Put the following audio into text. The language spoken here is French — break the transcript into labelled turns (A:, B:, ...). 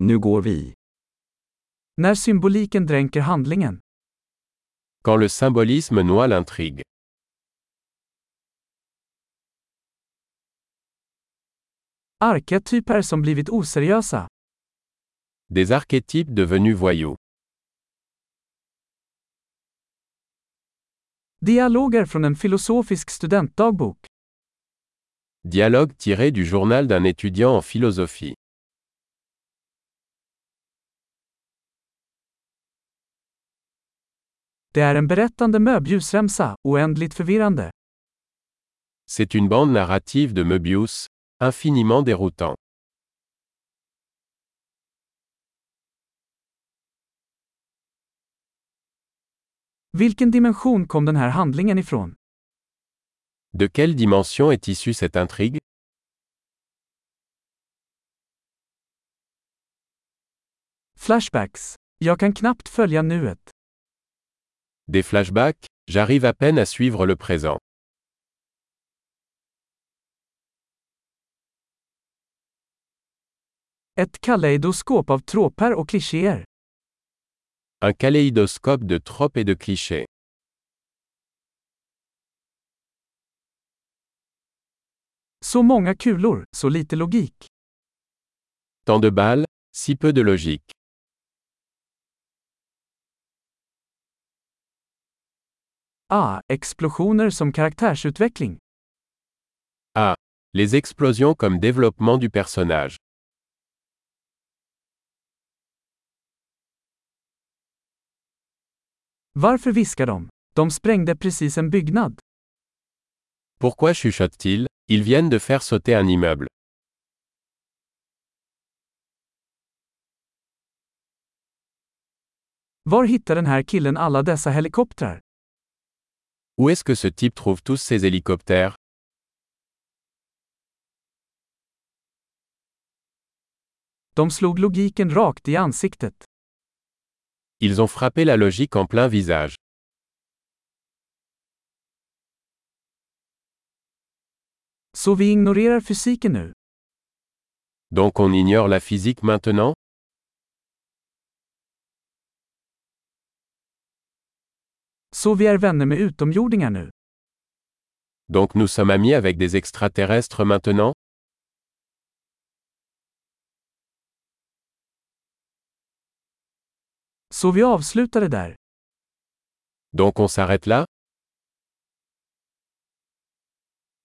A: Nu går vi.
B: När symboliken dränker handlingen.
C: Quand le symbolisme noie l'intrigue.
B: Arketyper som blivit oseriösa.
C: Des archétypes devenus voyous.
B: Dialoger från en filosofisk studentdagbok.
C: Dialogue tiré du journal d'un étudiant en philosophie.
B: Det är en berättande möbljusremsa, oändligt förvirrande.
C: C'est une bande narrative de Möbius, infiniment déroutant.
B: Vilken dimension kom den här handlingen ifrån?
C: De quelle dimension est issue cette intrigue
B: Flashbacks. Jag kan knappt följa nuet.
C: Des flashbacks J'arrive à peine à suivre le présent.
B: Ett kaleidoskop av tråpar och klichéer.
C: Un kaléidoscope de tropes et de clichés.
B: Så många kulor, så lite logik.
C: Tant de balles, si peu de logique.
B: Ah, explosioner som karaktärsutveckling.
C: Les explosions comme développement du personnage.
B: Varför viskar de? De sprängde precis en byggnad.
C: Pourquoi chuchotent-ils Ils viennent de faire sauter un immeuble.
B: Var hittar den här killen alla dessa helikoptrar?
C: Où est-ce que ce type trouve tous ces hélicoptères
B: De slog logiken rakt i ansiktet.
C: Ils ont frappé la logique en plein visage.
B: Så vi ignorerar fysiken nu.
C: Donc on ignore la physique maintenant
B: Så vi är vänner med utomjordingar nu.
C: Donc nous sommes amis avec des extraterrestres maintenant
B: Så vi avslutar det där.
C: Donc on s'arrête là